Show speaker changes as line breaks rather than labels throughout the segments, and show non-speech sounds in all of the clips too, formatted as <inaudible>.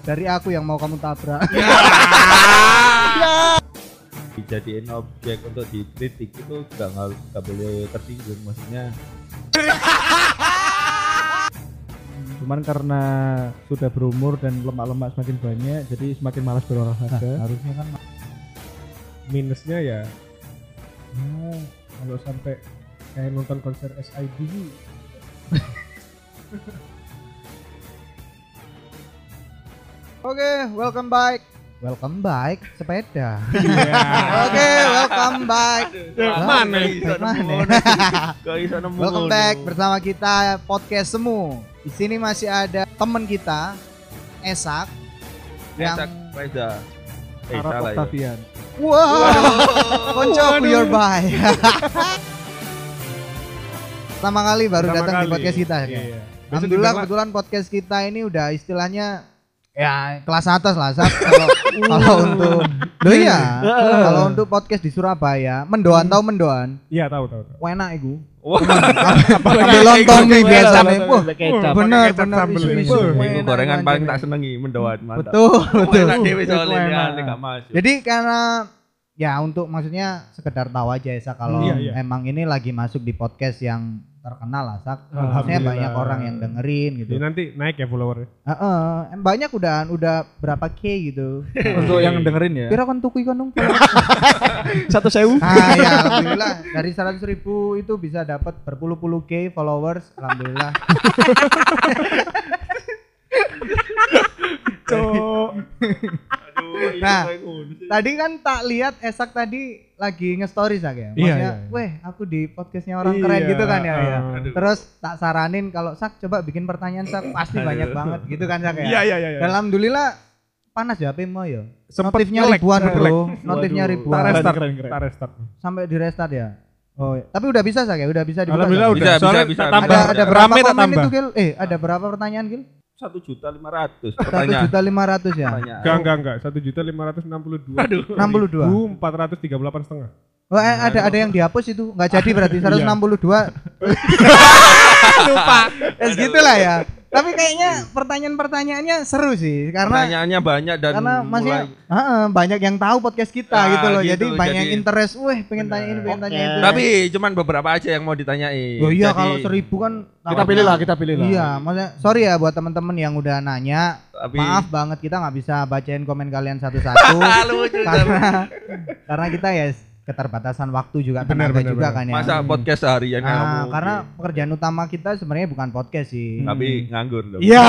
dari aku yang mau kamu tabrak
dijadiin objek untuk dikritik itu nggak nggak nggak boleh tersinggung maksudnya
Cuman karena sudah berumur dan lemak-lemak semakin banyak, jadi semakin malas berolahraga.
harusnya kan
Minusnya ya, ya kalau sampai kayak nonton konser SID
<laughs> oke welcome back welcome back sepeda <laughs> oke welcome back Hah?
Mana?
Baik mana? <laughs>
Gak bisa nemu.
welcome back bersama kita podcast semu di sini masih ada teman kita Esak yang
Iya, Esak Reza eh
Arab
salah ya
Octavian.
Wow, konco your bye. <laughs> Pertama kali baru
Pertama
datang di
kali.
podcast kita. ya?
Iya, iya. Biasa
Alhamdulillah
dibilang,
kebetulan podcast kita ini udah istilahnya ya kelas atas lah Sab. kalau, kalau untuk lo iya kalau untuk podcast di Surabaya mendoan tau mendoan
Iya, tahu tahu tahu.
enak iku
Wah.
sampai lontong nih biasa nih Wah,
Kecap.
bener
Pakai kecap
bener
sambel
isu-
ini.
isu.
Wah,
Minggu
Enak,
gorengan
enak,
paling
enak.
tak senengi mendoan mantap
betul betul
enak dewe
Itu
soalnya
enak. Nah.
nanti nggak masuk
Jadi karena ya untuk maksudnya sekedar tahu aja Esa kalau
Iya, iya.
emang ini lagi masuk di podcast yang terkenal lah Sak. Maksudnya
Alhamdulillah.
banyak orang yang dengerin gitu.
Jadi
Iya.
nanti naik ya followernya.
Heeh, em, banyak udah udah berapa K <laughs> gitu.
Untuk yang dengerin ya.
Kira kon tukui kon
Satu
<laughs>
sewu. <laughs>
Ah ya alhamdulillah dari 100 ribu itu bisa dapat berpuluh-puluh K followers alhamdulillah. Nah, <laughs> tadi kan tak lihat Esak tadi lagi nge-story sak ya. Maksudnya,
iya, iya.
weh aku di podcastnya orang keren gitu kan ya. ya.
Ah.
Aduh.
Terus tak saranin kalau Sak coba bikin pertanyaan Sak pasti banyak banget gitu kan Sak ya.
Iya iya iya.
Dan Alhamdulillah panas ya HP mu ya.
Sempet
Notifnya
nge-lag,
ribuan
sempet
bro,
lag.
notifnya
Waduh.
Tak
ribuan.
restart,
Keren, keren.
tak restart.
Sampai di restart ya. Oh, iya. tapi udah bisa Sak ya, udah bisa dibuka.
Alhamdulillah
Sak?
Bisa,
udah.
bisa,
Soalnya
bisa.
tak
Ada,
tambah.
ada berapa
Rame tak
komen
tambah.
itu Gil? Eh ada berapa pertanyaan Gil?
satu juta lima ratus
Satu
pertanyaan
juta lima ratus ya.
Pertanyaan.
Enggak enggak enggak. Satu juta lima ratus enam puluh dua. Aduh.
62.
empat ratus tiga puluh delapan setengah.
Wah, eh, ada ada yang dihapus itu nggak jadi berarti
Iya. <laughs>
162
lupa.
Es gitulah ya. Tapi kayaknya pertanyaan-pertanyaannya seru sih karena
pertanyaannya banyak dan
karena masih
mulai
banyak yang tahu podcast kita
Ah,
gitu loh.
gitu,
jadi banyak yang
jadi-
interest, weh pengen tanya ini, pengen tanya itu.
tapi cuman beberapa aja yang mau
Eh.
ditanyain
Oh iya
Jadi,
kalau seribu kan
Kita pilih lah, kita pilih lah.
Iya, maksudnya sorry ya buat teman-teman yang udah nanya.
tapi
Maaf banget kita nggak bisa bacain komen kalian satu-satu karena karena kita ya keterbatasan waktu juga
Benar,
tenaga
benar,
juga
benar.
kan ya.
masa podcast seharian
Ah,
kamu
karena pekerjaan utama kita sebenarnya bukan podcast sih.
tapi nganggur loh
Iya.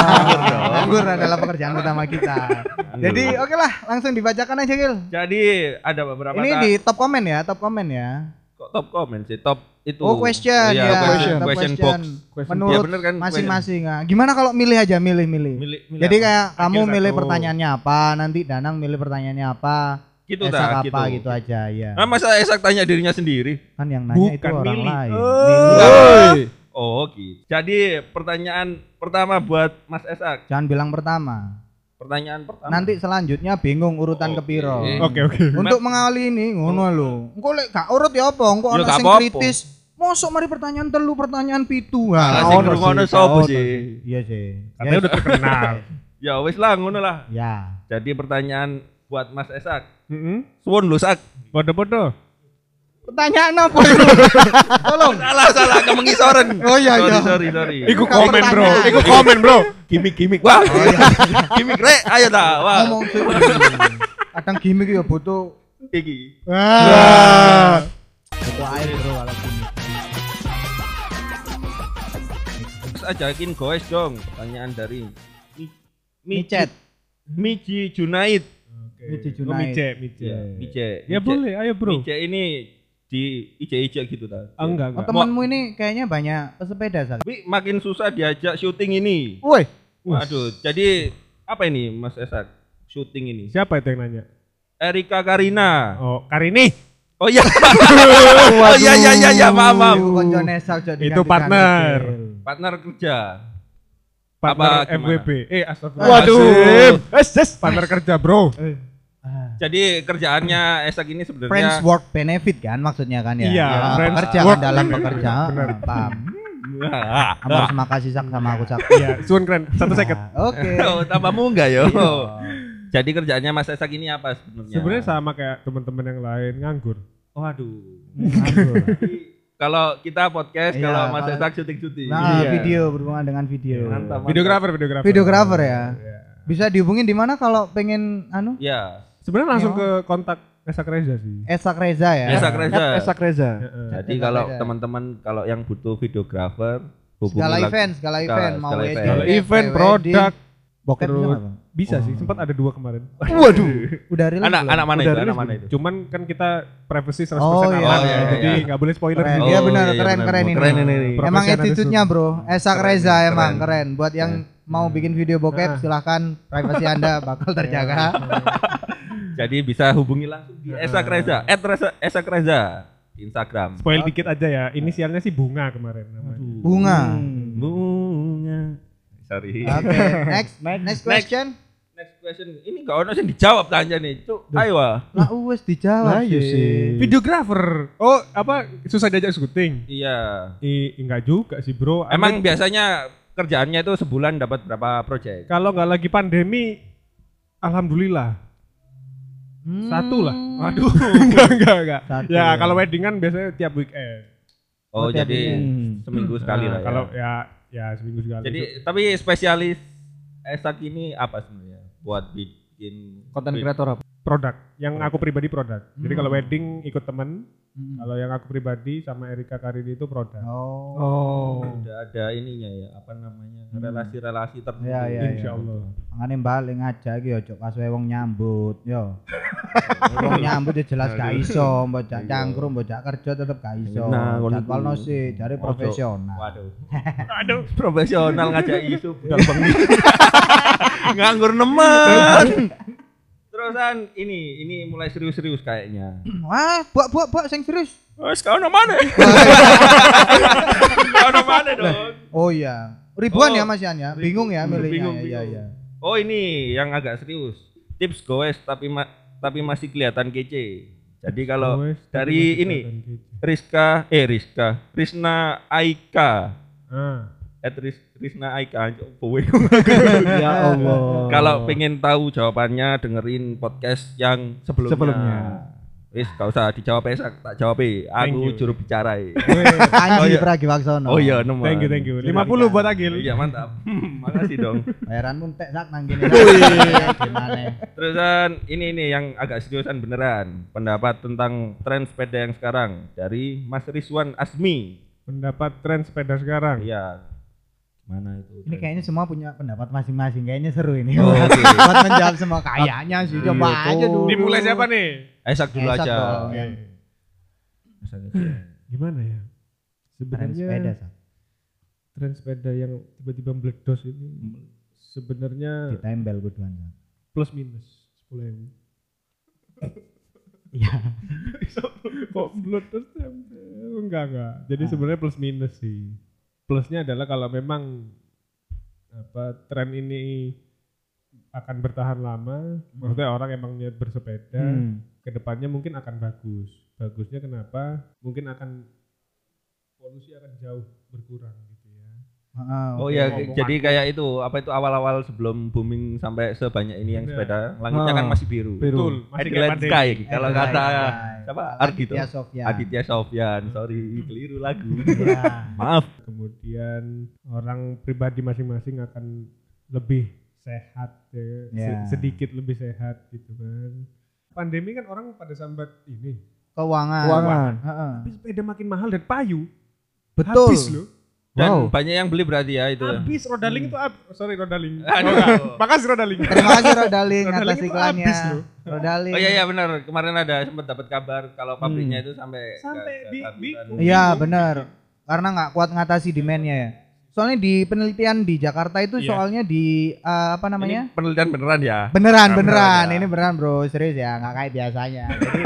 Nganggur adalah pekerjaan utama kita.
Nganggur.
Jadi oke lah, langsung dibacakan aja Gil.
jadi ada beberapa
Ini
ta-
di top komen ya, top komen ya.
kok top comment sih top itu
Oh question
Iya,
ya,
question,
top
question box
Question.
Menurut
Ya, bener kan,
masing-masing. Nah, Gimana kalau milih aja, milih-milih.
Milih- milih
Jadi
apa?
kayak kamu
satu.
milih pertanyaannya apa, nanti Danang milih pertanyaannya apa,
gitu
Esak
dah
apa gitu. aja ya.
Nah, masa Esak tanya dirinya sendiri?
Kan yang nanya itu
Bukan
orang
Eh.
milih.
lain. Milih.
Woi.
Oh, gitu. Jadi, pertanyaan pertama buat Mas Esak.
Jangan bilang pertama.
Pertanyaan pertama.
Nanti selanjutnya bingung urutan
Oke.
kepiro.
Oke oke.
Untuk mengawali ini ngono lho. Engko lek gak urut ya apa? Engko
Ya,
ana
gak
sing
apa-apa.
kritis. Mosok mari pertanyaan telu, pertanyaan pitu.
Lah,
Ha.
sing
ono
ngrungono
sih,
sapa
ono
sih?
Iya sih.
Katanya udah terkenal.
Ya wis lah ngono lah.
<laughs> Ya.
Jadi pertanyaan buat Mas Esak.
Heeh.
Suwun lu Sak.
Bodoh-bodoh.
Pertanyaan apa itu? Tolong.
Salah salah ke mengisoren.
<laughs> Oh iya iya.
Sorry sorry sorry.
Iku
Bukan
komen bro.
pertanyaan.
Iku komen bro. Gimik gimik.
Wah. <laughs> Gimik rek, ayo
Oh,
ta. Wah.
iya. Ngomong sih. Kadang gimmick ya butuh
Iki.
Wah.
butuh air bro kalau gimmick.
Terus ajakin goes dong pertanyaan dari Mi-
Micet.
Miji Junaid.
Mice
Oh,
Junaid.
Mice, Mice.
Iya.
Ya, Mice.
Ya
Mice-
boleh, ayo bro.
Mice ini di ije-ije gitu ta.
Ah, Enggak,
Oh,
enggak.
temanmu ini kayaknya banyak pesepeda sak.
Tapi makin susah diajak syuting ini.
Woi,
Waduh, jadi apa ini Mas Esak? Syuting ini.
Siapa itu yang nanya?
Erika Karina.
Oh, Karini.
Oh
<laughs>
iya. oh iya iya iya iya, maaf, maaf.
ibu koncone sak jadi
Itu partner.
Partner kerja.
Partner
gimana?
FWB. Eh, astagfirullah.
Waduh. Es, es.
Partner kerja bro.
Jadi kerjaannya Esak ini
Friends
sebenarnya
work benefit kan maksudnya kan ya.
Iya,
Ya,
friends
pekerjaan
work
dalam
benefit.
pekerjaan.
Benar.
Paham. Kamu harus makasih sak sama aku sak.
Iya, suun keren. Satu second.
Nah, Oke.
<laughs>
<laughs>
Oh, tambahmu enggak yo?
Iya.
Jadi kerjaannya Mas Esak ini apa sebenarnya?
Sebenarnya sama kayak teman-teman yang lain nganggur.
Oh, aduh.
Nganggur.
kalau kita podcast,
Iya,
kalau Mas
kalau-
Esak syuting-syuting.
Nah,
Iya.
video berhubungan dengan video.
Iya.
Mantap.
Videografer, videografer.
Videografer ya.
Iya.
Bisa dihubungin di mana kalau pengen anu?
Iya.
Ya,
Sebenarnya langsung
Iya.
ke kontak Esak Reza sih.
Esak Reza ya.
Esak Reza.
Esak Reza.
Heeh.
Jadi
Esak
kalau
Reza.
teman-teman kalau yang butuh videografer hubungi
Segala
lagi-
event, segala
segala-
event mau
segala
wedding,
Kalau
event.
kayak
event,
pre-wedding.
produk,
bokep bisa
terus-
nggak, Bang?
bisa
Wah.
sih. Sempat ada dua kemarin.
<laughs> Waduh, udah rilis
Anak
belum?
anak mana
Udah
itu? Anak
rilis
mana
belum?
itu?
Cuman kan kita privacy 100%
Oh, iya,
aman ya.
iya,
Jadi
iya.
nggak boleh spoiler
Keren.
sih.
Iya
Oh,
benar,
iya, iya,
keren,
benar.
keren ini.
Keren ini, ini.
Emang
Profesional
attitude-nya, Bro. Esak
Keren,
Reza
keren.
emang keren. Buat yang mau bikin video bokep silahkan privasi Anda bakal terjaga.
Jadi bisa hubungi langsung di Esak Reza, at Reza- Esak Reza di Instagram.
Spoil dikit aja ya. Inisialnya sih bunga kemarin namanya.
Bunga.
Hmm. Bunga. Sorry.
Oke, next, next question.
Next question. Ini gak ono sih dijawab tanya nih. Cuk, ayo. ah.
Lah wes
Nah,
dijawab
Lah, iya
Nah, sih.
sih.
Videografer. Oh, apa susah diajak syuting?
Iya.
I, enggak juga sih, Bro.
Emang biasanya kerjaannya itu sebulan dapat berapa project?
kalau nggak lagi pandemi alhamdulillah
Hmm.
satu lah waduh <laughs> enggak enggak enggak
Satu.
ya kalau wedding kan biasanya tiap weekend
Oh,
Oh,
tiap
jadi
Hmm.
seminggu sekali
Nah,
lah. ya.
kalau ya ya seminggu sekali
Jadi tapi spesialis Esak ini apa sebenarnya? Buat bikin
Konten
bi-
kreator apa?
produk yang aku pribadi produk jadi
Hmm.
kalau wedding ikut temen
Hmm.
kalau yang aku pribadi sama Erika Karini itu produk
Oh.
Oh.
Udah ada ininya ya, apa namanya? Relasi-relasi tertentu.
Ya, ya, ya.
Insya Allah
Makane balik aja iki ojo pas wae wong nyambut,
<laughs>
yo. wong nyambut ya jelas gak iso, mbok cak cangkrum, mbok cak kerja tetep gak iso.
Iya. Nah, ngono
Jadwal
iku.
sih, cari
Ojo.
profesional.
Waduh. Aduh, profesional ngajak isu <laughs> budal bengi. Nganggur nemen. Terusan ini, ini mulai serius-serius kayaknya.
<clears throat> Wah, Ah, buak buak buak sing serius.
Wes kau mana? <laughs> Kau mana dong?
Oh iya. Ribuan
Oh,
ya Mas Yan ya. Bingung ya milihnya.
bingung,
ya,
bingung.
ya, ya.
Oh ini yang agak serius. Tips goes tapi ma- tapi masih kelihatan kece. Jadi kalau
Wes,
dari
tiba-tiba
ini
kelihatan gitu.
Rizka eh Rizka Rizna Aika
ah
at Riz, Rizna Aika Anjok, bowe.
ya Allah.
kalau pengen tahu jawabannya dengerin podcast yang sebelumnya.
Sebelumnya.
Wis gak usah dijawab esak, tak jawab eh. Aku
you.
juru bicara.
<laughs>
eh. <laughs> Oh,
Anji
iya.
Pragiwaksono.
Oh iya, nomor.
thank you thank you 50 buat Agil
Iya, mantap. Hmm, Makasih dong.
Bayaranmu entek sak nang
<laughs>
kene. Ya, Gimana?
Terusan ini ini yang agak seriusan beneran pendapat tentang tren sepeda yang sekarang dari Mas Rizwan Asmi.
pendapat tren sepeda sekarang
Iya. Mana itu?
Ini kayaknya semua punya pendapat masing-masing. Kayaknya seru ini.
Oh,
<laughs>
oke. Iya,
Buat menjawab semua kayaknya sih. Coba aja dulu.
Iya, dimulai siapa nih
Esak dulu
Esak
aja.
dong,
Oke.
yang
Esak aja.
gimana ya
tren
sebenarnya
sepeda. Sak.
tren sepeda yang tiba-tiba meledos ini sebenarnya
Ditempel kuduan. Sak.
plus minus 10 ewu.
Iya.
<laughs> Kok meledos tempel? enggak enggak. Jadi sebenarnya plus minus sih. Plusnya adalah kalau memang apa tren ini akan bertahan lama, maksudnya orang emang niat bersepeda,
Hmm.
kedepannya mungkin akan bagus. Bagusnya kenapa? Mungkin akan polusi akan jauh berkurang gitu ya.
Heeh.
Oh iya,
Ngomong
jadi kayak itu apa itu awal-awal sebelum booming sampai sebanyak ini yang
Iya.
sepeda, langitnya
Nah,
Ah,
kan masih biru.
biru.
Betul, masih kayak
Adelaide
pandemi.
Sky gitu, kalau
Adelaide
kata
Sky.
siapa? Argito.
Aditya Iya, Sofyan.
Aditya Sofyan,
<laughs>
sorry keliru lagu.
Iya.
Maaf.
kemudian orang pribadi masing-masing akan lebih sehat ya, se-
Ya.
sedikit lebih sehat gitu kan pandemi kan orang pada sambat ini
Keuangan.
Keuangan.
Heeh.
tapi sepeda makin mahal dan payu
Betul. Iya.
habis loh
Dan
Wow.
banyak yang beli berarti ya itu.
habis rodaling itu ab- oh, sorry rodaling
Aduh.
Oh, enggak. makasih rodaling
<laughs> Terima kasih Rodaling
Rodaling
atas
itu
iklannya.
habis loh.
Rodaling.
Oh iya iya benar kemarin ada sempat dapat kabar kalau pabriknya itu sampai
Sampai
ke- ke-
di- di-
kehabisan.
Hmm. Iya, benar. Karena nggak kuat ngatasi demand-nya ya. Soalnya di penelitian di Jakarta itu
Iya.
soalnya di eh, apa
Ini
namanya?
penelitian beneran ya.
Beneran, beneran.
Nah, beneran ya.
Ini beneran, Bro. Serius ya, nggak kayak biasanya. Jadi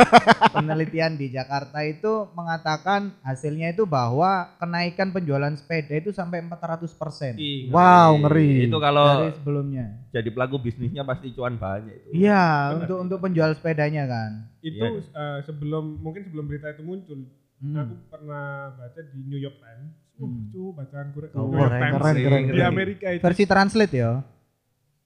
penelitian di Jakarta itu mengatakan hasilnya itu bahwa kenaikan penjualan sepeda itu sampai 400%.
Ih,
Wow, ngeri.
Itu kalau
dari sebelumnya.
jadi pelaku bisnisnya pasti cuan banyak itu.
Iya, untuk untuk penjual sepedanya kan.
itu eh, sebelum mungkin sebelum berita itu muncul
Hmm.
aku pernah baca di New York Times Uh, cu, bacaan kurek.
Oh,
New York
keren,
Times.
keren, keren,
Di
keren.
Amerika itu.
Versi translate ya.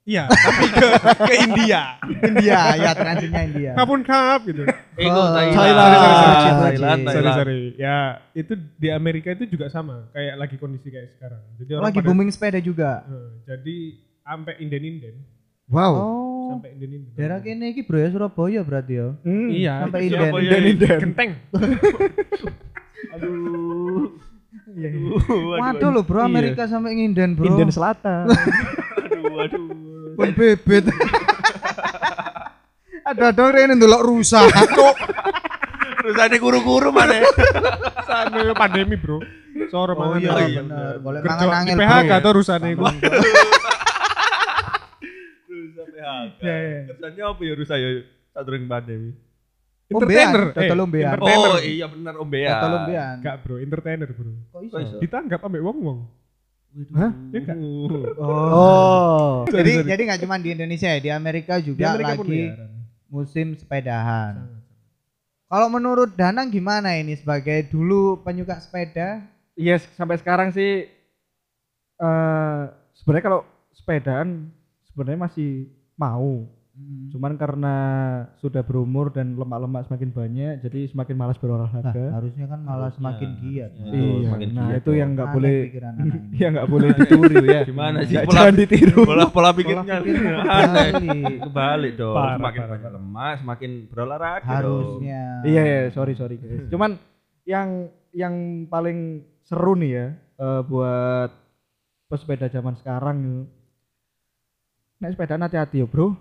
Iya, tapi ke, ke India.
<laughs> India, ya transitnya India.
Kapun kap gitu.
Itu Thailand.
Thailand.
Thailand.
Sorry,
sorry
Thailand.
sorry. Ya itu di Amerika itu juga sama. Kayak lagi kondisi kayak sekarang. Jadi orang
Oh, Lagi
pada-
booming sepeda juga.
Eh, jadi sampai inden-inden,
Wow.
sampai inden-inden.
Oh, Daerah kene iki bro ya Surabaya berarti ya.
Iya.
sampai
itu
inden.
Surabaya
Inden-inden.
<laughs> Genteng.
Aduh.
Iya, Waduh lo bro Amerika sampai nginden bro.
Inden
<laughs>
Selatan.
Aduh, aduh.
Pun bebet. <laughs> Ada ada rene ndelok rusak kok.
Terus ada guru-guru mana?
Sana pandemi, Bro.
<laughs>
Sore
Oh
mangan
iya
apa.
bener. Golek
Kerja
mangan
di
angel.
PHK
bro. Oh, iya.
atau rusane iku.
Terus sampai haka.
Ya, ya.
Kerjanya apa ya Rusa ya? Sadurung pandemi.
Ombean,
Entertainer.
total
Ya,
ombean.
entertainer.
Oh iya benar Om Bea.
Atau lumbian.
Enggak, Bro. Entertainer, Bro.
Kok
Kok iso?
Ditanggap ambek wong-wong.
Hah?
Ya enggak?
Oh.
Sorry,
Jadi
sorry.
jadi nggak cuma di Indonesia ya, di Amerika
Di
juga
Amerika pun
lagi
ya.
musim sepedahan. Kalau menurut Danang gimana ini sebagai dulu penyuka sepeda?
Yes, Iya, sampai sekarang sih eh sebenarnya kalau sepedaan sebenarnya masih mau.
Hmm.
Cuman karena sudah berumur dan lemak-lemak semakin banyak, jadi semakin
Nah,
malas
Ah.
berolahraga.
harusnya kan malah semakin giat.
Harusnya. Betul,
iya.
semakin
Nah,
giat
itu
dong.
yang nggak
Aneh
boleh
pikiran anak ini.
<laughs> <laughs> ya nggak boleh
<laughs>
ditiru ya.
Gimana sih
Nggak
pola
jangan ditiru.
pola pola
Pola
pikirnya?
pikirnya
Aneh.
<laughs>
kembali.
Kebalik dong.
Parah,
Semakin
parah.
banyak lemas, semakin berolahraga dong.
Harusnya.
Iya, iya, sorry sorry guys.
Hmm.
Cuman yang yang paling seru nih ya eh, buat pesepeda zaman sekarang yuk. Naik sepeda hati-hati ya bro.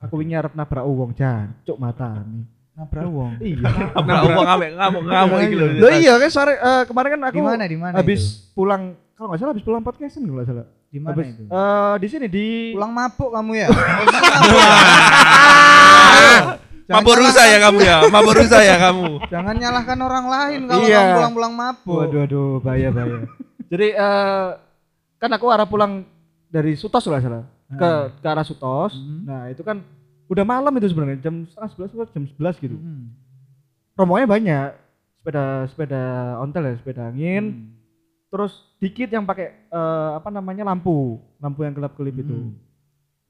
Aku ingin ngarep nabrak uang jancuk mata nih.
Nabrak wong.
Iya.
Nah, ngomong ngamuk ngamuk ngamuk iki lho.
Loh iya kan sore eh, kemarin kan aku
Di mana di mana?
habis
itu?
pulang kalau nggak salah habis pulang podcastan kalau nggak salah.
di mana
Habis
itu?
eh, di sini di
Pulang mabuk kamu
<laughs>
ya?
Mabuk rusa ya kamu ya. Mabuk rusa ya kamu.
Jangan nyalahkan orang lain kalau
Iya.
kamu pulang-pulang mabuk.
Waduh, waduh, bahaya, bahaya. Jadi eh kan aku arah pulang dari Sutos lah salah ke
Hmm.
ke arah Sutos.
Mhm.
Nah itu kan udah malam itu sebenarnya jam setengah sebelas atau jam sebelas gitu.
Hmm.
Rombongnya banyak sepeda sepeda ontel ya sepeda angin.
Hmm.
Terus dikit yang pakai eh, apa namanya lampu lampu yang gelap gelip itu.
Mhm.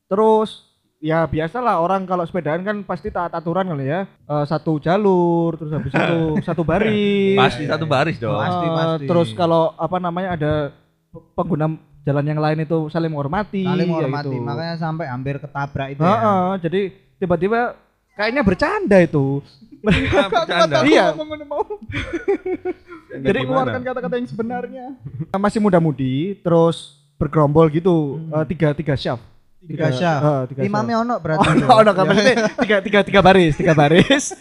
Terus ya biasalah orang kalau sepedaan kan pasti taat aturan kali ya. Eh, satu jalur terus habis
<laughs>
itu satu baris.
Pasti satu baris dong.
Pasti,
Eh,
pasti.
Terus kalau apa namanya ada pe- pengguna jalan yang lain itu saling menghormati.
Saling
ya
menghormati,
gitu.
makanya sampai hampir ketabrak itu. ya.
Heeh, jadi tiba-tiba kayaknya bercanda itu.
Ah, Bercanda.
<laughs> Iya.
Jadi
jadi
Iya,
keluarkan kata-kata yang <laughs> sebenarnya. Nah, Masih muda-mudi, terus bergerombol gitu,
Hmm.
eh, tiga tiga shaft.
Tiga shaft.
eh, tiga
Imamnya ono berarti.
shaft.
itu.
Oh, no, no,
Ya.
maksudnya tiga tiga tiga baris, tiga
<laughs>
baris.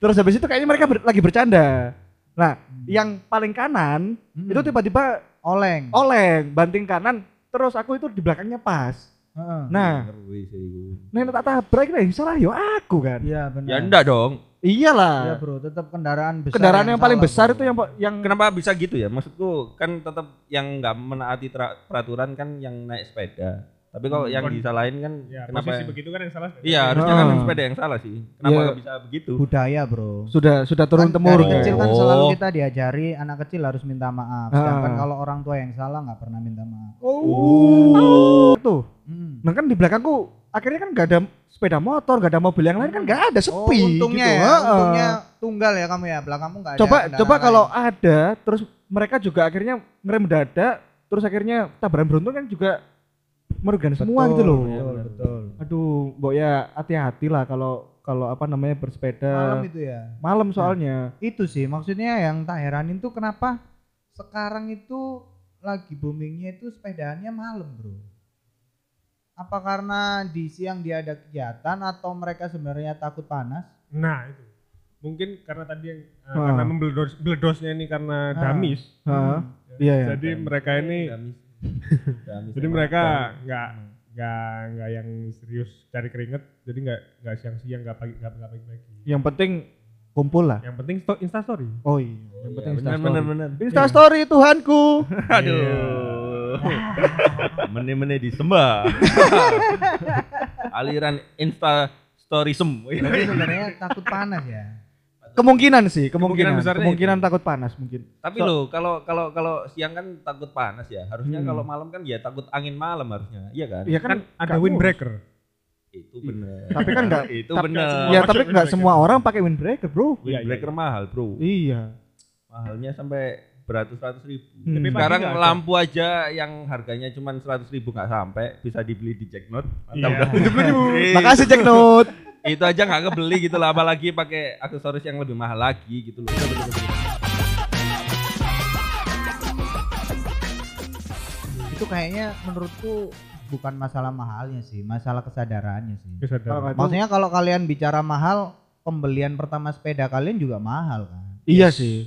terus habis itu kayaknya mereka ber- lagi bercanda. Nah, yang paling kanan
Hmm.
itu tiba-tiba
oleng.
Oh. oleng banting kanan terus aku itu di belakangnya pas
Heeh.
nah nek tak tabrak nek salah yo aku kan
Iya benar.
Ya enggak dong.
Iya
iyalah
bro, tetap kendaraan besar.
kendaraan yang, paling
salah, bro.
besar itu yang po- yang
Kenapa bisa gitu ya? Maksudku kan tetap yang nggak menaati tra- peraturan kan yang naik sepeda. Tapi kalau yang
Hmm. Kon-
disalahin kan
Ya,
kenapa?
posisi begitu kan yang salah.
Iya, harusnya kan
Ah.
yang sepeda yang salah sih. Kenapa
Ya.
nggak bisa begitu?
budaya bro.
sudah sudah turun
Kan
temurun
dari kecil kan
kan.
Oh.
selalu kita diajari anak kecil harus minta maaf. Sedangkan
Ah.
kalau orang tua yang salah nggak pernah minta maaf.
oh tuh
Hmm.
nah kan di belakangku akhirnya kan gak ada sepeda motor gak ada mobil yang lain kan gak
Oh,
ada sepi
untungnya
gitu.
ya,
Heeh.
untungnya tunggal ya kamu ya, belakangmu nggak ada.
coba
kendaraan
coba
lain.
kalau ada terus mereka juga akhirnya ngerem mendadak terus akhirnya tabrakan beruntun kan juga merugikan
Betul, iya,
semua gitu loh
Betul, betul.
Aduh, Mbok ya hati-hati lah kalau kalau apa namanya
Malam
bersepeda
itu ya.
malam soalnya.
Itu sih maksudnya yang tak heranin tuh kenapa sekarang itu lagi boomingnya itu sepedaannya malam bro. Apa karena di siang dia ada kegiatan atau mereka sebenarnya takut panas?
Nah, itu. Mungkin karena tadi yang eh,
Ah.
karena membeledos beledosnya ini karena
Ah.
damis.
Heeh. Iya ya.
Jadi mereka ini Jadi mereka nggak nggak nggak yang serius cari keringet, jadi nggak nggak siang-siang, nggak pagi nggak nggak pagi-pagi.
Yang penting kumpul lah.
Yang penting sto- instastory.
Oh iya, yang penting Insta story.
benar benar.
Insta story Tuhanku.
<laughs>
Aduh. Mene-mene
<laughs>
disembah. Aliran insta story sem. <laughs>
Tapi sebenarnya takut panas ya.
Kemungkinan sih,
Kemungkinan
kemungkinan.
besarnya
Kemungkinan,
itu.
takut panas mungkin.
Tapi
So-
loh kalau kalau kalau siang kan takut panas ya. Harusnya
Hmm.
kalau malam kan ya takut angin malam harusnya. Iya kan?
Iya
kan
kan,
ada
nggak
windbreaker.
Itu benar.
Tapi kan nggak-
itu
tapi nggak
benar.
semua. iya,
Ya
Masuk
tapi nggak
windbreaker.
semua orang pakai windbreaker, Bro.
Windbreaker mahal, Bro.
Iya.
Mahalnya sampai beratus-ratus ribu.
Hmm.
Tapi Pak-
Sekarang
Pagi nggak ada.
lampu aja yang harganya cuma seratus ribu nggak sampai bisa dibeli di Jacknot. Mantap
Iya.
dah. <laughs> Eh,
Makasih Jack Note.
itu aja nggak kebeli gitu lah apalagi pakai aksesoris yang lebih mahal lagi gitu loh
itu kayaknya menurutku bukan masalah mahalnya sih masalah kesadarannya sih
Kalau nggak
Kesadaran.
itu-
maksudnya kalau kalian bicara mahal pembelian pertama sepeda kalian juga mahal kan
Iya sih.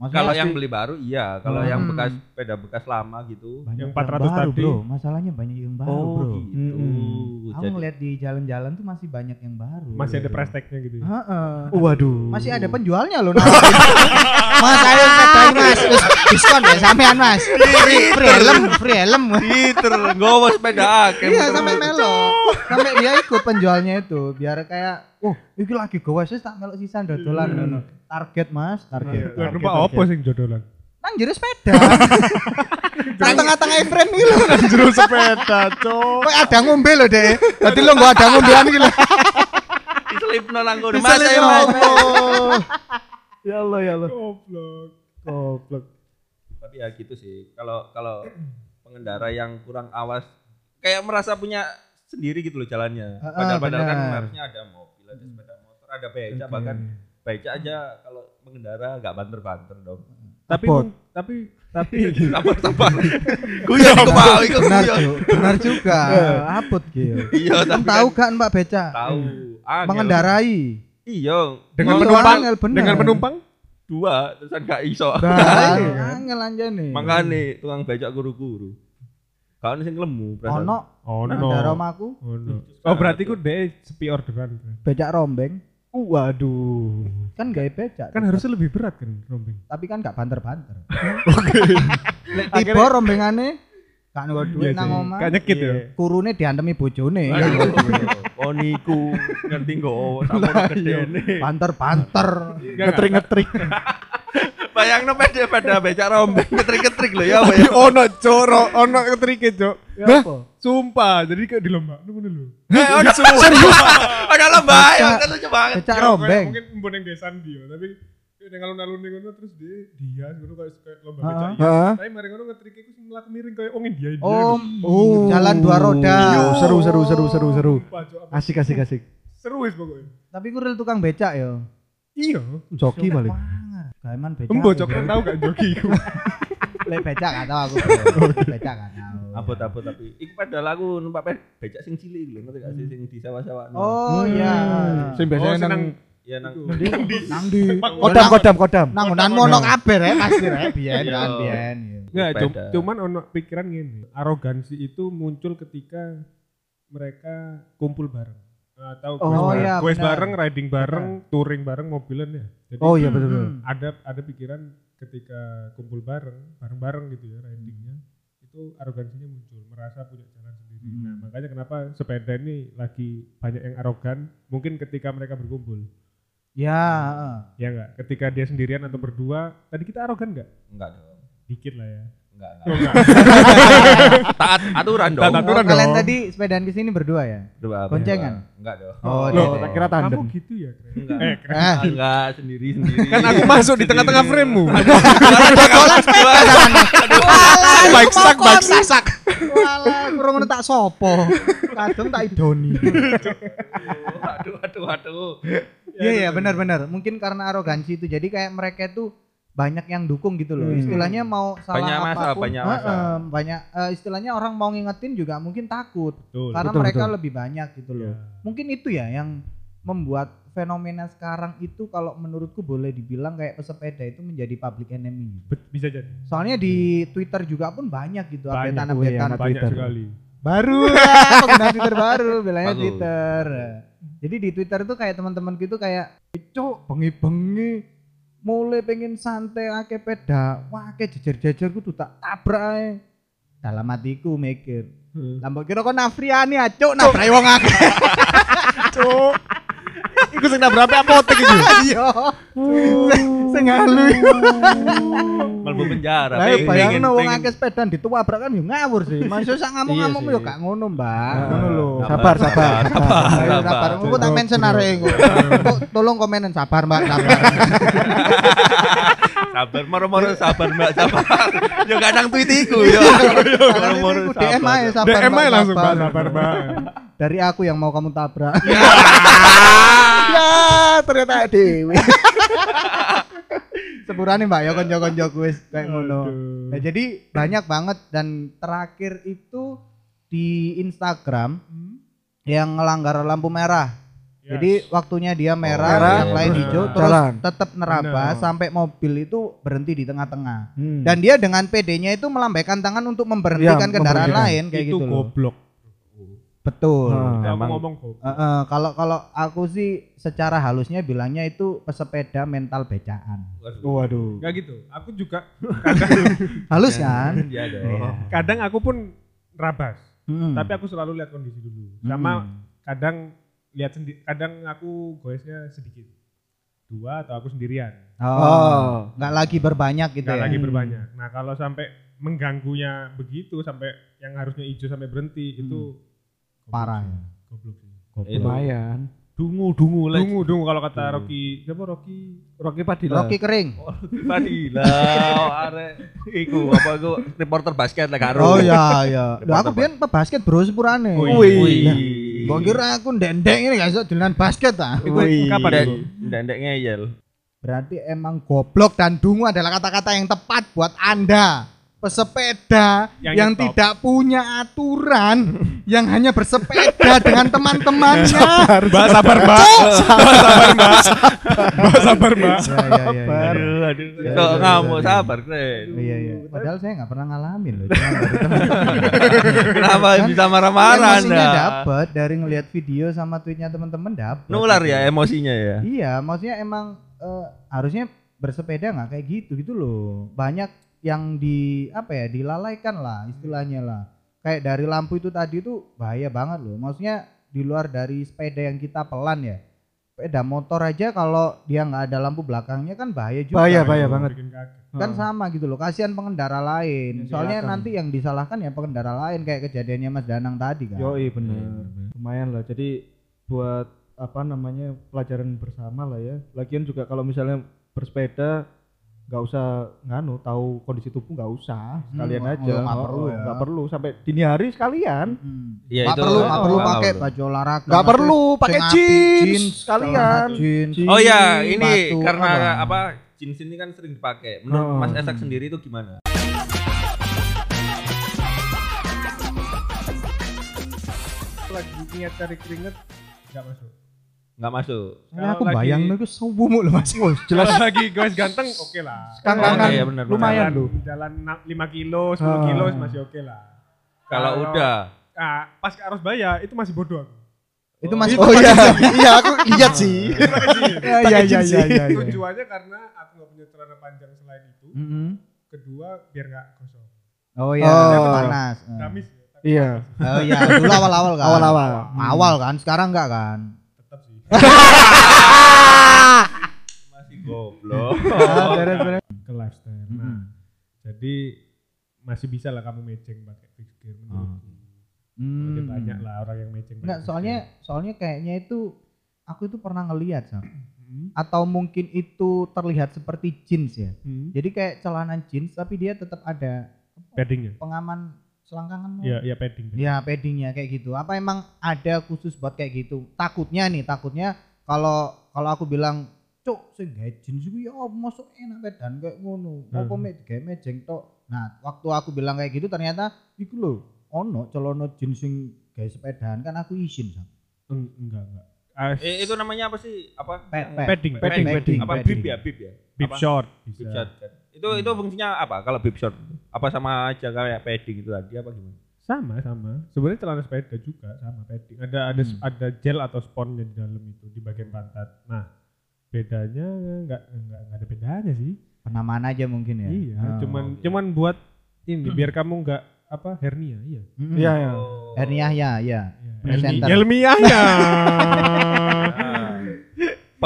Maksudnya
kalau yang
pasti
beli baru iya kalau yang
Hmm.
bekas sepeda bekas lama gitu
banyak
yang 400
baru,
tadi.
bro masalahnya banyak yang baru bro
gitu
Mm-mm.
aku
Jadi-
ngeliat di jalan-jalan tuh masih banyak yang baru
Masih ada price tag-nya gitu. ya.
Heeh.
Waduh.
masih ada penjualnya loh nah. <laughs> mas ayo sepedain mas Terus diskon ya sampean mas free, free helm free helm
Peter nggawa sepeda akeh
iya sampai melok sampai dia ikut penjualnya itu biar kayak oh ini lagi gawe sih tak melok sisa dodolan
Hmm.
ngono. target mas
Iya,
target
Lah, Numpak
target.
opo sing jodolan?
nang jero
<laughs>
sepeda <laughs> nang tengah-tengah iframe iki lho nang jero sepeda cok kok ada ngombe lho deh dadi lo gak ada ngombean iki lho
diselipno nang kono mas ayo mas
Ya Allah ya Allah.
Goblok.
Goblok.
tapi ya gitu sih kalau kalau pengendara yang kurang awas kayak merasa punya sendiri gitu loh jalannya
Ah,
padahal padahal kan
benar.
harusnya ada mobil ada sepeda motor ada becak bahkan becak aja kalau pengendara nggak banter-banter dong
Tapi
Abot.
mung- tapi tapi
<laughs> sabar
<laughs>
sabar guyon kepala iku
Gitu. Iya, benar
guyon.
juga benar juga abot gitu
iya tapi
tahu Hmm.
kan
gak mbak beca
tahu Angel.
mengendarai
iya
dengan
Iya,
penumpang
angel, bener.
dengan penumpang
dua terusan gak iso
Nah,
Iya.
angel anjane.
makanya tukang becak guru-guru kau ini sing lemu perasaan.
ono
Oh
nang daerah omahku
Oh berarti ku deh sepi orderan.
becak rombeng
Waduh.
kan gak becak.
Kan harusnya lebih berat kan rombeng.
tapi kan gak banter-banter.
<laughs>
Lek tiba rombengane gak nggo duit nang omah.
Kayak Iya nyekit ya. Iya.
Iya.
Kurune diantemi bojone.
Koniku ngerti kok sama gede
Banter-banter.
Iya
Ngetrik-ngetrik.
Bayang no pede pada becak rombeng ketrik-ketrik loh ya apa ya?
Tapi ono coro, ono ketrike cok. Nah,
apa?
sumpah. Jadi kayak di lomba. Nunggu dulu.
Eh ono semua. Ada lembah ya
Becak-
kan lucu banget.
Becak
Ya, kayak
rombeng.
Mungkin embon yang desan dia, tapi dengan alun-alun nih ngono terus dia dia ngono kayak kayak lomba
Heeh.
becak. iya.
Heeh.
Tapi mari ngono ngetrik iku sing mlaku miring kayak wong India India.
Om,
Iya.
Oh. Iya.
jalan dua roda.
Yo, Seru seru seru seru seru.
Sumpah, Cok. Apa-
Asik asik asik.
Seru wis pokoknya.
Tapi ku real tukang becak yo.
Iya.
Joki paling.
Gaiman becak.
Embo cok kan tau gak joki <laughs> iku.
Lek becak gak
<laughs>
tau aku. Becak gak tau.
Abot abot tapi iku padahal aku numpak pe- becak sing cilik lho ngerti gak sih sing di sawah-sawah.
Oh iya.
Sing
Oh,
biasanya nang
senang-
ya nang
Nang di
kodam kodam kodam.
nang nang mono kabeh rek pasti rek biyen
Iya.
kan biyen. yo.
Nggak, cum-
Sepeda.
cuman ono pikiran gini, arogansi itu muncul ketika mereka kumpul bareng atau
Oh,
goes Ah, bareng,
iya,
goes
benar.
bareng, riding bareng, touring bareng, mobilan ya. Jadi
Oh iya betul betul.
Hmm.
ada ada pikiran ketika kumpul bareng, bareng-bareng gitu ya ridingnya, itu arogansinya muncul, merasa punya jalan sendiri.
Hmm.
Nah, makanya kenapa sepeda ini lagi banyak yang arogan, mungkin ketika mereka berkumpul.
Ya, heeh.
Ya enggak, ketika dia sendirian atau berdua, tadi kita arogan enggak?
enggak dong.
Dikit lah ya.
Enggak
Oh,
enggak.
enggak.
<laughs> Taat aturan dong.
Taat
Oh,
Aturan
kalian
dong.
tadi sepedaan ke sini berdua ya?
Berdua, berdua.
Boncengan?
Enggak dong.
Oh,
Loh,
iya.
tak kira tandem.
Kamu gitu ya, Kren?
Enggak.
Eh,
<laughs>
Eh,
Enggak sendiri-sendiri.
kan aku masuk di tengah-tengah frame-mu.
Baik sak, baik sak. <laughs> Walah, kurang ngono tak sopo. Kadung tak idoni.
Aduh aduh aduh.
Iya, iya, benar-benar. Mungkin karena arogansi itu. Jadi kayak mereka itu banyak yang dukung gitu loh.
Hmm.
Istilahnya mau salah
Banyak masa,
apapun,
banyak masa.
heeh, banyak eh, istilahnya orang mau ngingetin juga mungkin takut
Betul.
karena
betul,
mereka
betul.
lebih banyak gitu loh.
Iya.
Mungkin itu ya yang membuat fenomena sekarang itu kalau menurutku boleh dibilang kayak pesepeda itu menjadi public enemy.
Bet- bisa jadi.
Soalnya di Twitter juga pun banyak gitu
Banyak, oh iya,
updatean-updatean
Banyak
Twitter.
sekali.
baru ya, pengguna Twitter baru bilangnya
Bagus.
Twitter. Jadi di Twitter tuh kayak teman-teman gitu kayak cuk bengi-bengi mulai pengen santai akeh peda, wah akeh jejer-jejer kudu tak tabrak ae. Dalam hatiku mikir, lah mbok kira kok Nafriani acuk nabrak wong akeh.
Cuk,
Iku sing nabrak apa apotek iki.
<laughs> Iya. Sing halu.
Melbu penjara.
Hmm. Lah
ping,
bayangno
ping,
wong
ping.
akeh sepedaan dituabrak kan yo ngawur sih. Masuk sak ngamuk-ngamuk
Iya sih.
yo gak ngono, Mbak.
Ah,
Ngono lho.
Sabar, sabar.
sabar,
Ayo
sabar.
sabar. Engko tak
Cukup,
mention
cukup.
arek engko. Engko Tolong komenen sabar, Mbak, sabar.
Sabar,
Iya.
moro-moro sabar, Mbak,
<laughs>
sabar. Yo kadang tweetiku yo.
Karena ini
moro-moro
ku DM aja
sabar.
sabar.
DM
Mbak,
aja langsung
sabar.
Pak, sabar Pak.
Dari aku yang mau kamu tabrak. <laughs> ya, ternyata dewe. Sepurane Mbak ya konco-konco wis kayak ngono.
Aduh.
Nah, jadi banyak banget dan terakhir itu di Instagram yang ngelanggar lampu merah.
Hmm? Yes. Oh, iya,
Jadi waktunya dia merah,
merah,
yang lain
terus
hijau, terus
jalan.
tetap neraba
Benar.
sampai mobil itu berhenti di tengah-tengah.
Hmm.
Dan dia dengan PD-nya itu melambaikan tangan untuk memberhentikan
Ya,
kendaraan
memberhentikan.
lain kayak
itu
gitu loh.
goblok.
Betul.
Ah.
Aku
Emang.
ngomong goblok.
Heeh, kalau kalau aku sih secara halusnya bilangnya itu pesepeda mental becaan.
waduh.
Enggak gitu. Aku juga
Halus kan?
Iya dong.
gitu. Ya.
Iya.
<laughs> kadang aku pun rabas,
Hmm.
tapi aku selalu lihat kondisi dulu. Sama
Hmm.
kadang lihat sendiri, kadang aku goesnya sedikit. Dua atau aku sendirian.
Oh.
Oh.
Nggak lagi berbanyak gitu
Enggak
ya.
lagi berbanyak. Nah, kalau sampai mengganggunya begitu sampai yang harusnya hijau sampai berhenti itu goblok
Parah
sih.
ya.
Goblok sih.
Itu.
Lumayan.
Dungu, dungu lah.
Dungu, dungu kalau kata
Dungu.
Rocky, siapa Rocky?
Rocky Padilla.
Rocky kering.
Tadi lah, arek iku apa iku reporter basket lah karo.
Oh ya ya. Lah aku
Depan-depan.
biyen pebasket bro sepurane.
Wih.
Wih.
Mbok kira aku ndendeng ini gak iso dolanan basket ah? ta.
Itu kapan
Iya.
Ndek
itu?
ndek ya? ngeyel.
Berarti emang goblok dan dungu adalah kata-kata yang tepat buat Anda pesepeda yang,
Yang nyetop.
tidak punya aturan yang hanya bersepeda dengan teman-temannya.
Mbak sabar, Mbak.
Mbak sabar, Mbak.
Ya, ya, ya, ya.
Aduh, aduh.
Ya,
Sok
ya, ya,
ngamuk
ya.
sabar,
<laughs>
Kren.
Iya iya. Padahal saya nggak pernah ngalamin loh. Cuma baru
Kenapa
Kan
bisa marah-marah
Emosinya
Anda?
dapat dari ngelihat video sama tweetnya teman-teman gitu. dapat.
Nular ya emosinya ya.
Iya, maksudnya emang eh, harusnya bersepeda nggak kayak gitu gitu loh. Banyak yang di apa ya dilalaikan lah istilahnya lah. Kayak dari lampu itu tadi tuh bahaya banget loh. Maksudnya di luar dari sepeda yang kita pelan ya. Sepeda motor aja kalau dia nggak ada lampu belakangnya kan bahaya juga.
Bahaya, bahaya banget.
Bikin kaget.
kan sama gitu loh kasihan pengendara lain
Yang
soalnya
disalahkan.
nanti yang disalahkan ya pengendara lain kayak kejadiannya Mas Danang tadi kan
Yo, bener. Lumayan lah. Jadi buat apa namanya pelajaran bersama lah ya. Lagian juga kalau misalnya bersepeda nggak usah nganu tahu kondisi tubuh nggak usah sekalian
Hmm, nggak-
aja Oh,
nggak perlu ya.
nggak perlu sampai dini hari sekalian
Hmm.
Iya,
Nggak
itu-
perlu nggak
oh,
perlu
nggak
pakai
perlu.
baju olahraga
nggak
Mas.
perlu pakai
Sing apik,
jeans
celana
sekalian
jeans.
Jeans.
Oh ya, ini
Sepatu,
karena
apa?
apa? Jeans ini kan sering dipakai. Menurut
Oh.
Mas Esak sendiri itu gimana?
Lagi niat cari keringet enggak masuk.
Nggak masuk.
Soalnya aku
Kalau lagi-
bayang itu subuh mulu mas
Jelas lagi guys ganteng oke lah.
Kan,
Kangen-kangen,
Oke, ya benar, benar.
lumayan
Jalan,
loh
jalan 5 kilo, 10
Ah.
kilo masih oke lah.
Kalau
Kalau-
udah
Ah, pas ke Arusbaya itu masih bodoh. aku.
itu masih
oh iya
<laughs>
iya aku lihat sih
iya
Pakai
iya iya
jeans
iya
sih.
iya, iya.
Tujuannya karena aku nggak punya celana panjang selain itu.
Mm-mm.
Kedua biar nggak gosong.
oh iya
Oh.
itu panas
Gamis ya, tapi
iya
oh iya dulu awal awal kan
awal awal
Hmm. awal kan sekarang enggak kan
tetap
<laughs>
sih.
masih <laughs> goblok.
Ah, beres beres
ke lifestyle. Nah,
Mm-mm.
jadi masih bisa lah kamu mejeng pakai fixed gear menurutku.
Ah.
Ada
Hmm.
banyak lah orang yang mejeng. pakai
Enggak,
fixed
soalnya
gear.
soalnya kayaknya itu aku itu pernah ngelihat Sam. atau mungkin itu terlihat seperti jeans ya.
Hmm.
Jadi kayak celana jeans tapi dia tetap ada Oh.
paddingnya.
pengaman selangkangan.
Iya, iya ya? padding.
Ya paddingnya kayak gitu. Apa emang ada khusus buat kayak gitu? Takutnya nih, takutnya kalau kalau aku bilang cuk sing gawe jeans iku ya apa, masuk enak dan kayak ngono. Apa
Hmm.
mek gawe mejeng tok. Nah, waktu aku bilang kayak gitu ternyata iku lho ono celana jeans sing gawe sepedaan kan aku izin Sam.
Eng- Enggak, enggak. Ah,
Eh, itu namanya apa sih? Apa?
Pet, pet.
Padding, padding,
padding.
padding.
Apa
padding.
bib ya, bib ya?
Bib
Apa?
short.
Bib
bisa.
shot kan. Itu itu fungsinya apa kalau bib shot? Apa sama aja kayak padding itu tadi apa gimana?
Sama, sama. Sebenarnya celana sepeda juga sama padding. Ada ada
Hmm.
ada gel atau sponnya di dalam itu di bagian pantat. Nah, bedanya enggak enggak, enggak ada bedanya sih.
Penamaan aja mungkin ya.
Iya,
Oh. Hmm.
cuman
oke.
cuman buat ini biar kamu enggak apa hernia, iya.
Mm-mm.
iya iya
Oh. Herniah ya, ya.
Iya,
Presenter. <laughs>
Helmi- Helmiah ya.
Nah,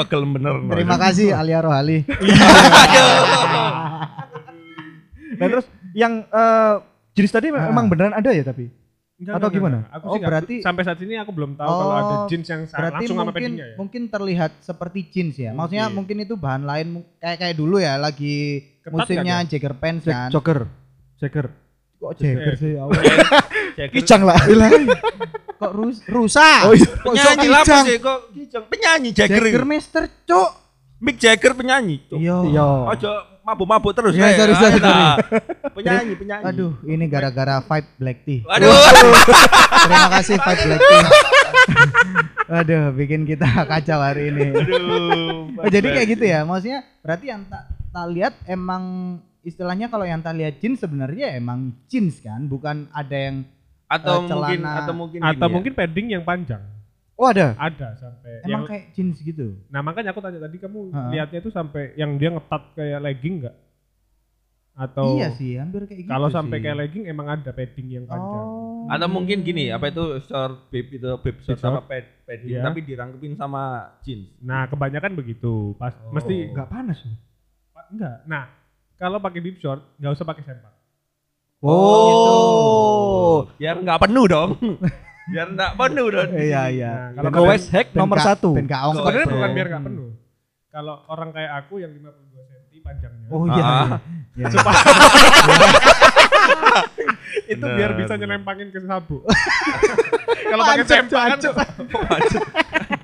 pegel bener. no.
Terima kasih Alia Rohali.
Dan Nah, terus yang eh, jenis tadi
Ah.
memang beneran ada ya tapi? Atau gimana?
Aku
Oh,
sih nggak-
berarti-
sampai saat ini aku belum tahu kalau ada
Oh,
jeans yang sa-
Berarti
Nah, langsung sama
mungkin
pedinya ya.
mungkin terlihat seperti jeans ya. Maksudnya mungkin itu bahan lain mu- kayak kayak dulu ya lagi
Ketat
musimnya jagger pants kan.
Jogger. Jogger.
Kok
Jogger
jagger?
sih. ya Allah.
Kijang.
gitu.
Kijang lah.
<laughs> Kok rus rusak?
Oh iya.
Penyanyi lah apa sih kok Kijang. Penyanyi Jagger.
Jagger
ini.
Mister Cuk.
Mick Jagger penyanyi. Cuk.
Iya.
Iya.
Ojo mabuk-mabuk terus.
Iya,
Rek.
sorry,
Ayo,
sorry,
nah.
<laughs>
Penyanyi, penyanyi.
Aduh, ini gara-gara vibe black tea.
Aduh.
<laughs>
Terima kasih vibe black tea. Aduh, bikin kita <laughs> kacau hari ini. Oh, jadi kayak gitu ya, maksudnya berarti yang tak tak lihat emang istilahnya kalau yang tak lihat jeans sebenarnya emang jeans kan, bukan ada yang
atau
Eh,
mungkin
celana.
atau mungkin
Atau
gini ya.
mungkin padding yang panjang.
Oh ada.
Ada sampai yang,
emang kayak jeans gitu.
Nah, makanya aku tanya tadi kamu
Ha.
lihatnya itu sampai yang dia ngetat kayak legging enggak? Atau
Iya sih, hampir kayak gitu.
kalau sampai
sih.
kayak legging emang ada padding yang panjang.
Oh.
atau mungkin gini ya. apa itu short bib itu bib short
Bib
sama pad padding
Iya.
tapi dirangkepin sama jeans
Nah, kebanyakan begitu. Pas
Oh.
mesti
Enggak panas. loh.
Pa- enggak. Nah, kalau pakai bib short nggak usah pakai sempak.
Oh, biar nggak penuh dong.
<laughs>
biar nggak penuh dong.
Iya, iya.
Nah,
Kalau
kalau
ke
pakai-
West Hack
Ben
nomor
ga-
satu.
Ben gak ongkos,
Sebenarnya
bro.
bukan biar nggak penuh. Kalau orang kayak aku yang 52 cm panjangnya.
Oh iya.
<laughs>
Ah.
iya. <laughs>
itu
Bener.
biar bisa nyelempangin ke
<laughs>
sabuk. kalau pakai sempak kan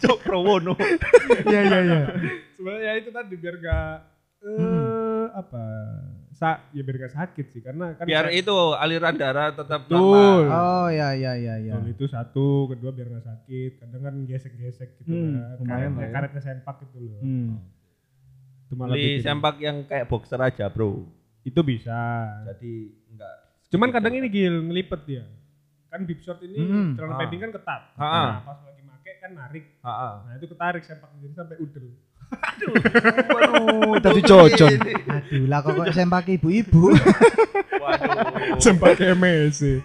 Cuk Prowono.
Iya iya iya.
sebenarnya ya itu tadi biar nggak eh
Hmm.
apa sa ya biar nggak sakit sih karena kan
Biar
saya-
itu aliran darah tetap
Betul.
normal.
Oh iya iya iya iya.
Betul, itu satu, kedua biar nggak sakit. Kadang kan gesek-gesek gitu
Hmm,
kan.
lumayan
Karetnya,
lah ya.
karetnya sempak gitu loh.
Hmm.
Itu malah
Beli
bikin-
sempak yang kayak boxer aja, Bro.
itu bisa.
Jadi enggak
Cuman
Gitu.
kadang ini gil ngelipet dia. Kan bib short ini
Hmm,
celana
ah.
padding kan ketat.
Ah, ah.
Nah, pas lagi make kan narik.
Heeh.
Nah, itu ketarik sempak jadi sampai
<laughs>
udel.
Waduh,
Tadi jojon.
Aduh lah kok kok sempak ibu-ibu.
Waduh.
Sempak kayak Messi.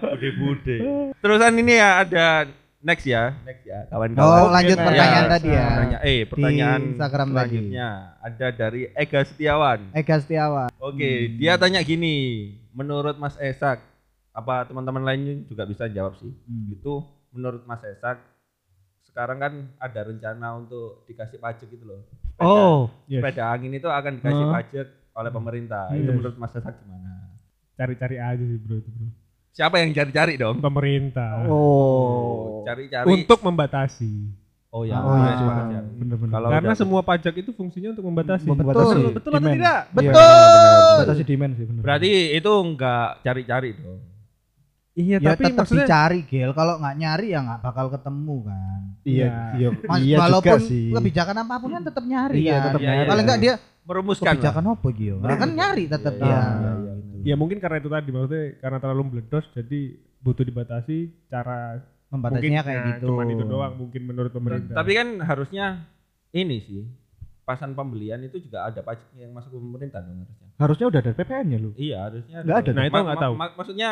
bude-bude. Terusan ini ya ada next ya, next ya kawan-kawan.
<laughs> Oh, lanjut
Oke,
pertanyaan
ya,
tadi ya.
Pertanya- eh pertanyaan
Instagram tadi.
selanjutnya ada dari Ega Setiawan.
Ega Setiawan.
Oke,
Hmm.
dia tanya gini, menurut Mas Esak, apa teman-teman lain juga bisa jawab sih?
Hmm.
Itu menurut Mas Esak, sekarang kan ada rencana untuk dikasih pajak gitu loh. Sepeda,
Oh.
Yes.
sepeda angin itu akan dikasih
Huh?
pajak oleh pemerintah. Itu
Yes.
menurut Mas Esak gimana?
Cari-cari aja sih bro itu bro.
Siapa yang cari-cari dong?
Pemerintah.
Oh.
Cari-cari.
Untuk membatasi.
oh ya,
Oh,
iya,
iya.
sepakat ya.
Bener-bener.
Kalau
Karena
udah-
semua pajak itu fungsinya untuk membatasi.
Membatasi
Betul, betul atau
demand.
tidak?
Iya,
Betul.
Oh,
Membatasi demand sih bener.
berarti itu enggak cari-cari dong.
Iya,
Ya,
tapi
tetap
maksudnya
dicari, Gel. Kalau nggak nyari ya nggak bakal ketemu kan.
iya iya
Mas,
iya juga
walaupun
sih.
kebijakan apapun kan tetap nyari
Iya,
kan.
tetap
nyari.
Paling enggak dia
Merumuskan. lah.
kebijakan apa gitu. Kan nyari Gitu. tetap
Iya,
dia.
iya, iya,
ya mungkin karena itu tadi maksudnya karena terlalu meledos jadi butuh dibatasi cara
Membatasinya kayak
nah,
gitu.
cuman itu doang mungkin menurut pemerintah.
Tapi kan harusnya ini sih pasan pembelian itu juga ada pajaknya yang masuk ke pemerintah dong harusnya.
harusnya udah ada PPN-nya lu.
Iya harusnya.
Nggak ada.
Nah, itu nggak tahu.
maksudnya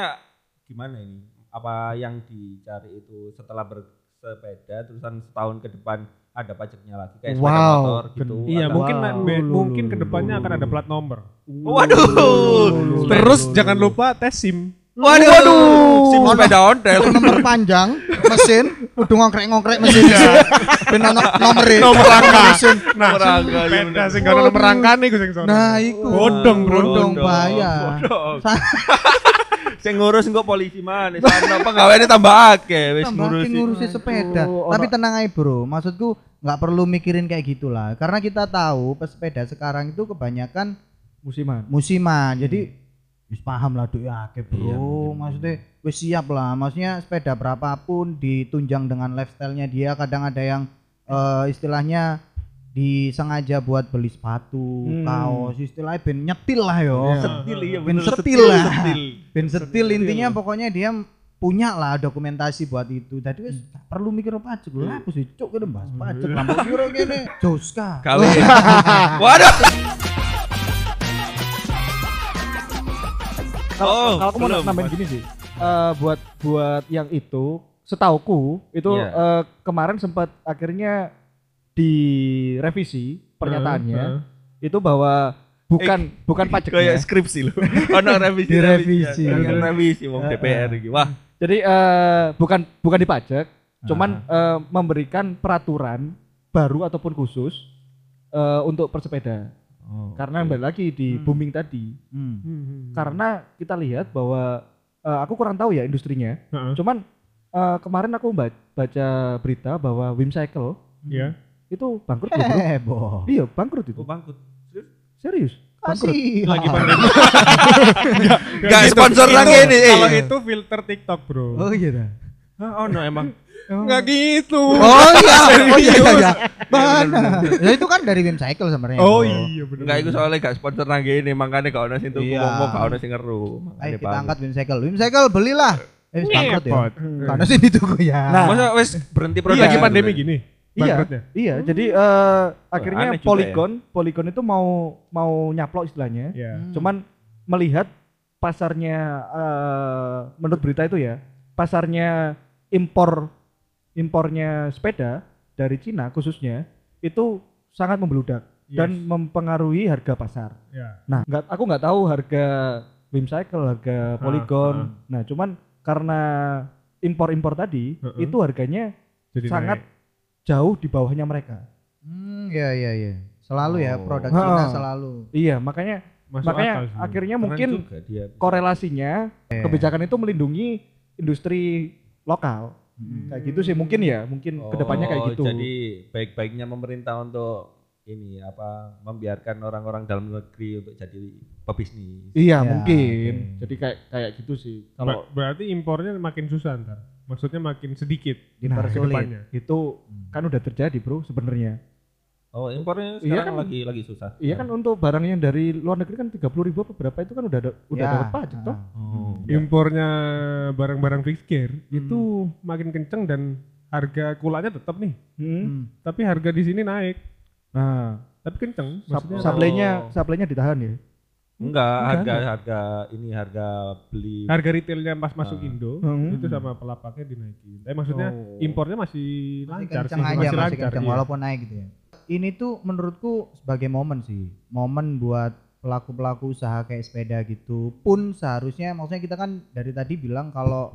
gimana ini? Apa yang dicari itu setelah bersepeda terusan setahun ke depan ada pajaknya lagi kayak sepeda
Wow,
motor gitu.
Iya,
atau-
mungkin
Wow.
be-
Lu, lu,
mungkin
lu,
kedepannya
lu,
akan
lu.
ada plat nomor.
Waduh.
Terus jangan lupa tes SIM.
Waduh. Sim sepeda ontel.
nomor panjang mesin udah ngongkrek-ngongkrek mesin ben ono nomere
Nomor rangka. Nah,
Rangka, iya
sepeda
bener.
sing gak nomor rangka nih gue sing sono.
nah iku
Bodong, bro.
bodong bahaya
Bodong. Sing ngurus engko polisi mana? Sana pegawainya tambah akeh wis
tambah
ngurusi.
ngurusi sepeda
Aduh,
tapi
ono-
tenang aja bro maksudku nggak perlu mikirin kayak gitulah karena kita tahu pesepeda sekarang itu kebanyakan
musiman.
musiman jadi wis paham lah duit akeh bro
Iya, mungkin.
maksudnya wis siap lah maksudnya sepeda berapapun ditunjang dengan lifestyle-nya dia kadang ada yang eh, istilahnya disengaja buat beli sepatu
Hmm.
kaos istilahnya ben nyetil lah yo
Iya.
Setil ya
Ben
bener
setil lah.
setil.
ben setil intinya pokoknya dia punya lah dokumentasi buat itu tadi wis gak perlu mikir pajak lah aku sih cuk kene bahas pajak lah mau kira kene joska
<laughs> Gawe. Waduh.
Kalau
Oh,
kalau aku mau
belum.
nambahin gini sih. Eh, buat buat yang itu setauku itu
Iya.
eh, kemarin sempat akhirnya direvisi pernyataannya itu bahwa bukan bukan
Eh, Kayak
pajaknya.
skripsi lho. <laughs> Ono revisi.
Direvisi.
Ono revisi wong
Heeh.
DPR iki. Wah,
Jadi eh, bukan bukan dipajak, cuman eh, memberikan peraturan baru ataupun khusus eh, untuk persepeda. Karena balik lagi di
Hmm.
booming tadi.
Hmm.
Karena kita lihat bahwa eh, aku kurang tahu ya industrinya.
Heeh.
Cuman eh, kemarin aku ba- baca berita bahwa Wim Cycle
ya
itu bangkrut loh,
<laughs>
bro.
Heboh.
Iya, bangkrut itu.
aku bangkrut.
Serius? Bangkrut.
Kasih.
lagi
Gak sponsor lagi ini. eh.
kalau itu filter TikTok bro
Oh iya dah.
Oh, no emang.
nggak gitu
<laughs> Oh iya, oh iya, iya, iya. Mana? Ya itu kan dari Wim Cycle sebenarnya.
oh iya bener
Enggak iku soalnya gak sponsor nang ini, makanya gak ono sing tuku
Iya.
ngomong, gak ono sing ngeru. Makanya
Ayo kita
bangkrut.
angkat Wim Cycle. Wim Cycle belilah. Eh wis bangkrut ya.
Ngepot.
Karena sih ditunggu ya.
Nah,
Masa wis berhenti
Iya,
produksi
lagi pandemi gini
ya. Iya,
bangkrutnya
iya. Jadi eh, akhirnya
aneh juga
Polygon, Polygon itu mau mau nyaplok istilahnya.
ya
Hmm.
Cuman melihat pasarnya eh, menurut berita itu ya, pasarnya impor impornya sepeda dari Cina khususnya itu sangat membeludak dan
Yes.
mempengaruhi harga pasar.
ya
Nah, nggak aku nggak tahu harga Wim Cycle,
Ah,
harga Polygon. Nah, cuman karena impor-impor tadi
Heeh.
itu harganya
jadi
sangat
naik.
jauh di bawahnya mereka.
Hmm, iya iya iya. Selalu ya
Oh.
produk Cina
Ha.
selalu.
Iya, makanya
Masuk
makanya
akal sih.
akhirnya
Keren
mungkin
juga dia.
korelasinya kebijakan itu melindungi industri lokal.
Hmm.
Kayak gitu sih mungkin ya, mungkin
Oh,
kedepannya kayak gitu.
Jadi baik-baiknya pemerintah untuk ini apa membiarkan orang-orang dalam negeri untuk jadi pebisnis.
Iya,
Ya,
mungkin.
oke.
Jadi kayak kayak gitu sih.
Ber-
Kalau
berarti impornya makin susah ntar maksudnya makin sedikit
Nah,
kedepannya.
Dipersulit.
itu kan udah terjadi, Bro, sebenarnya.
Oh, impornya
Iya
sekarang
kan?
lagi lagi susah.
Iya kan untuk barang yang dari luar negeri kan 30 ribu apa berapa itu kan udah ada, udah
Ya. Hmm.
dapat pajak toh.
Oh.
impornya barang-barang fixed gear
Hmm.
itu makin kenceng dan harga kulanya tetap nih
Hmm.
Hmm.
tapi harga di sini naik
Nah,
tapi kenceng
sub
maksudnya
suplainya suplainya ditahan ya.
Enggak,
Enggak,
harga harga ini harga beli
harga retailnya pas masuk
Ah.
Indo
Hmm.
itu sama pelapaknya dinaikin tapi maksudnya
Oh.
impornya masih
Masih
lancar
kenceng aja,
masih
masih
lancar
kenceng
iya.
walaupun naik gitu ya. Ini tuh menurutku sebagai momen sih, momen buat pelaku-pelaku usaha kayak sepeda gitu pun seharusnya maksudnya kita kan dari tadi bilang kalau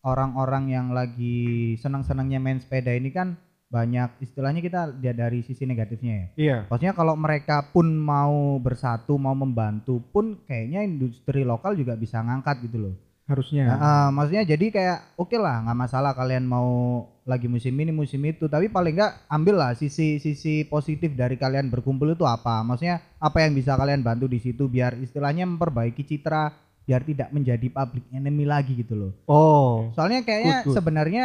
orang-orang yang lagi senang-senangnya main sepeda ini kan banyak istilahnya kita lihat dari sisi negatifnya ya.
Iya.
Maksudnya kalau mereka pun mau bersatu, mau membantu pun kayaknya industri lokal juga bisa ngangkat gitu loh.
Harusnya.
Nah, eh, maksudnya jadi kayak oke lah nggak masalah kalian mau lagi musim ini musim itu tapi paling nggak ambil lah sisi sisi positif dari kalian berkumpul itu apa maksudnya apa yang bisa kalian bantu di situ biar istilahnya memperbaiki citra biar tidak menjadi public enemy lagi gitu loh
Oh.
soalnya kayaknya
Good, good.
sebenarnya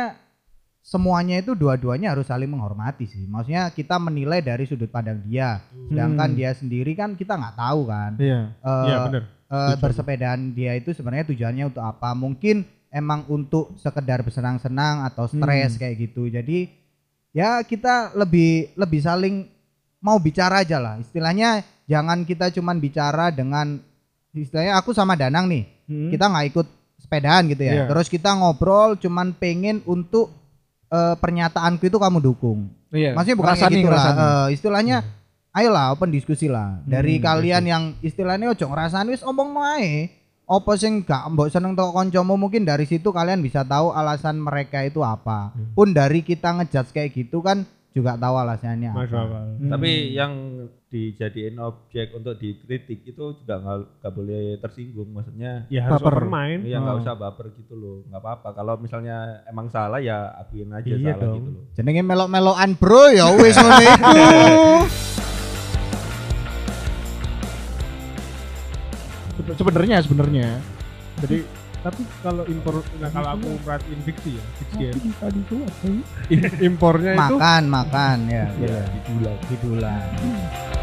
semuanya itu dua-duanya harus saling menghormati sih maksudnya kita menilai dari sudut pandang dia sedangkan
Hmm.
dia sendiri kan kita nggak tahu kan
Iya.
Eh,
iya benar
eh, bersepedaan dia itu sebenarnya tujuannya untuk apa? Mungkin emang untuk sekedar bersenang-senang atau stres
Hmm.
kayak gitu. Jadi ya kita lebih lebih saling mau bicara aja lah. Istilahnya jangan kita cuman bicara dengan istilahnya aku sama Danang nih.
Hmm.
Kita nggak ikut sepedaan gitu ya.
Iya.
Terus kita ngobrol cuman pengen untuk eh, pernyataanku itu kamu dukung.
Iya.
Maksudnya bukan kayak
Ngerasani,
gitu lah.
ngerasani.
Eh, istilahnya ayolah open diskusi lah. Dari
Hmm,
kalian yang istilahnya ojo ngrasani wis omong wae. Apa sing gak mbok seneng tok kancamu mungkin dari situ kalian bisa tahu alasan mereka itu apa.
Hmm.
Pun dari kita ngejudge kayak gitu kan juga tahu alasannya apa.
masuk akal
Hmm.
Tapi yang dijadiin objek untuk dikritik itu juga nggak nggak boleh tersinggung maksudnya.
ya harus
Baper.
open mind
Ya nggak
Oh.
usah baper gitu loh, nggak apa-apa. Kalau misalnya emang salah ya akuin aja
Iya
salah
dong.
gitu loh.
Jenenge melok-melokan bro ya
<laughs>
wis ngono iku.
Sebe- sebenarnya sebenarnya. Jadi
tapi kalau impor nah kalau aku perhatiin fiksi ya fiksi ya Im- impornya itu
makan makan ya.
Iya, dijual.
Hidulah.